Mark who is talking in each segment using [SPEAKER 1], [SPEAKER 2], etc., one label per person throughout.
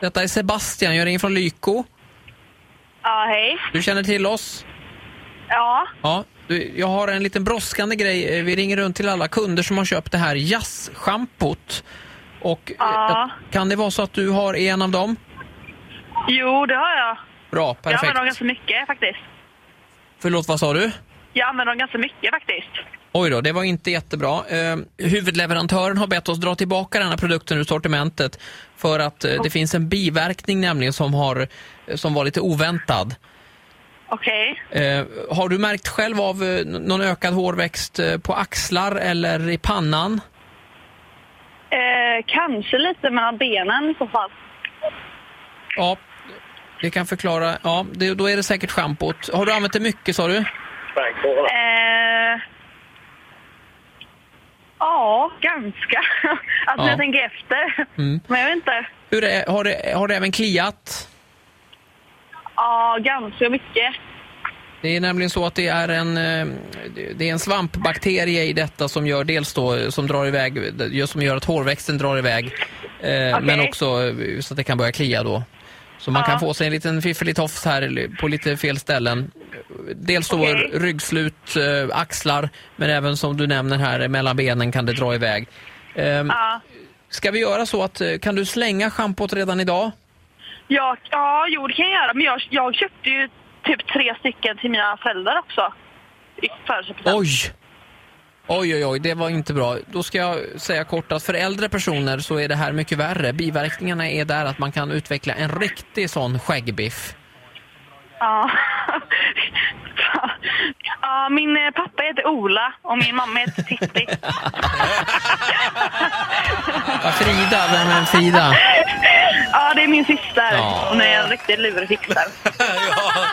[SPEAKER 1] Detta är Sebastian, jag ringer från Lyko.
[SPEAKER 2] Ja, hej.
[SPEAKER 1] Du känner till oss?
[SPEAKER 2] Ja,
[SPEAKER 1] Ja. Du, jag har en liten brådskande grej. Eh, Vi ringer runt till alla kunder som har köpt det här jazzschampot. Och eh,
[SPEAKER 2] Ja.
[SPEAKER 1] jag- kan det vara så att du har en av dem?
[SPEAKER 2] jo det har jag.
[SPEAKER 1] Bra,
[SPEAKER 2] Jag
[SPEAKER 1] perfekt.
[SPEAKER 2] använder dem ganska mycket faktiskt.
[SPEAKER 1] Förlåt, vad sa du?
[SPEAKER 2] Jag använder dem ganska mycket faktiskt.
[SPEAKER 1] Oj då, det var inte jättebra. Eh, huvudleverantören har bett oss dra tillbaka den här produkten ur sortimentet för att eh, det finns en biverkning nämligen som, har, eh, som var lite oväntad.
[SPEAKER 2] Okej.
[SPEAKER 1] Eh, har du märkt själv av eh, n- någon ökad hårväxt eh, på axlar eller i pannan?
[SPEAKER 2] Eh, kanske lite mellan benen i så fall.
[SPEAKER 1] Ja, det kan förklara. Ja, det, då är det säkert schampot. Har du använt det mycket sa du?
[SPEAKER 2] Eh, ja, ganska. Alltså när
[SPEAKER 1] Ja.
[SPEAKER 2] jag tänker efter. Men jag vet inte.
[SPEAKER 1] Hur är, har, det, har det även kliat?
[SPEAKER 2] Ja, ganska mycket.
[SPEAKER 1] Det är nämligen så att det är en, eh, det är en svampbakterie i detta som gör dels då, eh, som drar iväg, eh, som gör att hårväxten drar iväg, eh, men också eh, så att det kan börja klia då. Så man kan få sig en liten fiffelig tofs här eller på lite fel ställen. Dels då
[SPEAKER 2] Okej.
[SPEAKER 1] ryggslut, eh, axlar, men även som du nämner här, eh, mellan benen kan det dra iväg. Ehm,
[SPEAKER 2] Ja,
[SPEAKER 1] Ska vi göra så att, eh, kan du slänga schampot redan idag?
[SPEAKER 2] ja, ja jo det kan jag göra. Men jag, jag köpte ju typ tre stycken till mina föräldrar också. I födelsedagspresent.
[SPEAKER 1] Oj! Oj, oj, oj, det var inte bra. Då ska jag säga kort att för äldre personer så är det här mycket värre. Biverkningarna är där att man kan utveckla en riktig sån skäggbiff.
[SPEAKER 2] Ja. ja, min eh, pappa heter Ola och min mamma heter Titti.
[SPEAKER 1] Ja, Frida, vem är Frida?
[SPEAKER 2] Ja, det är min syster.
[SPEAKER 1] Ja.
[SPEAKER 2] Hon är en riktig lurfixare.
[SPEAKER 3] ja.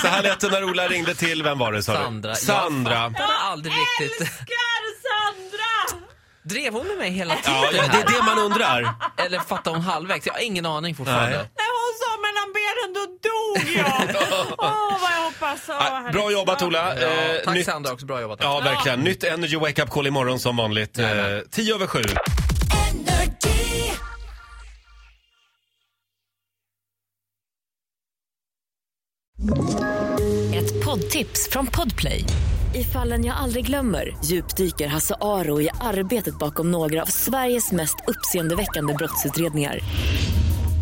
[SPEAKER 3] Så här lät det när Ola ringde till, vem var det sa du?
[SPEAKER 1] Sandra.
[SPEAKER 3] Sandra.
[SPEAKER 1] Jag har aldrig riktigt...
[SPEAKER 4] Älskar Sandra!
[SPEAKER 1] Drev hon med mig hela tiden
[SPEAKER 3] Ja, ja, det
[SPEAKER 1] här?
[SPEAKER 3] är det man undrar.
[SPEAKER 1] Eller fattade hon halvvägs? Jag har ingen aning fortfarande.
[SPEAKER 3] Nej.
[SPEAKER 4] När hon sa mellan benen då dog jag! Åh vad jag hoppas. Åh,
[SPEAKER 3] Ah,
[SPEAKER 4] herregud.
[SPEAKER 3] Bra jobbat Ola.
[SPEAKER 1] Ja,
[SPEAKER 3] Eh,
[SPEAKER 1] tack
[SPEAKER 3] nytt-
[SPEAKER 1] Sandra också, bra jobbat.
[SPEAKER 3] Ja, verkligen. Nytt Energy Wake Up Call imorgon som vanligt. Eh,
[SPEAKER 1] Jajamän.
[SPEAKER 3] 10 över 7.
[SPEAKER 5] Ett poddtips från Podplay. I fallen jag aldrig glömmer djupdyker Hasse Aro i arbetet bakom några av Sveriges mest uppseendeväckande brottsutredningar.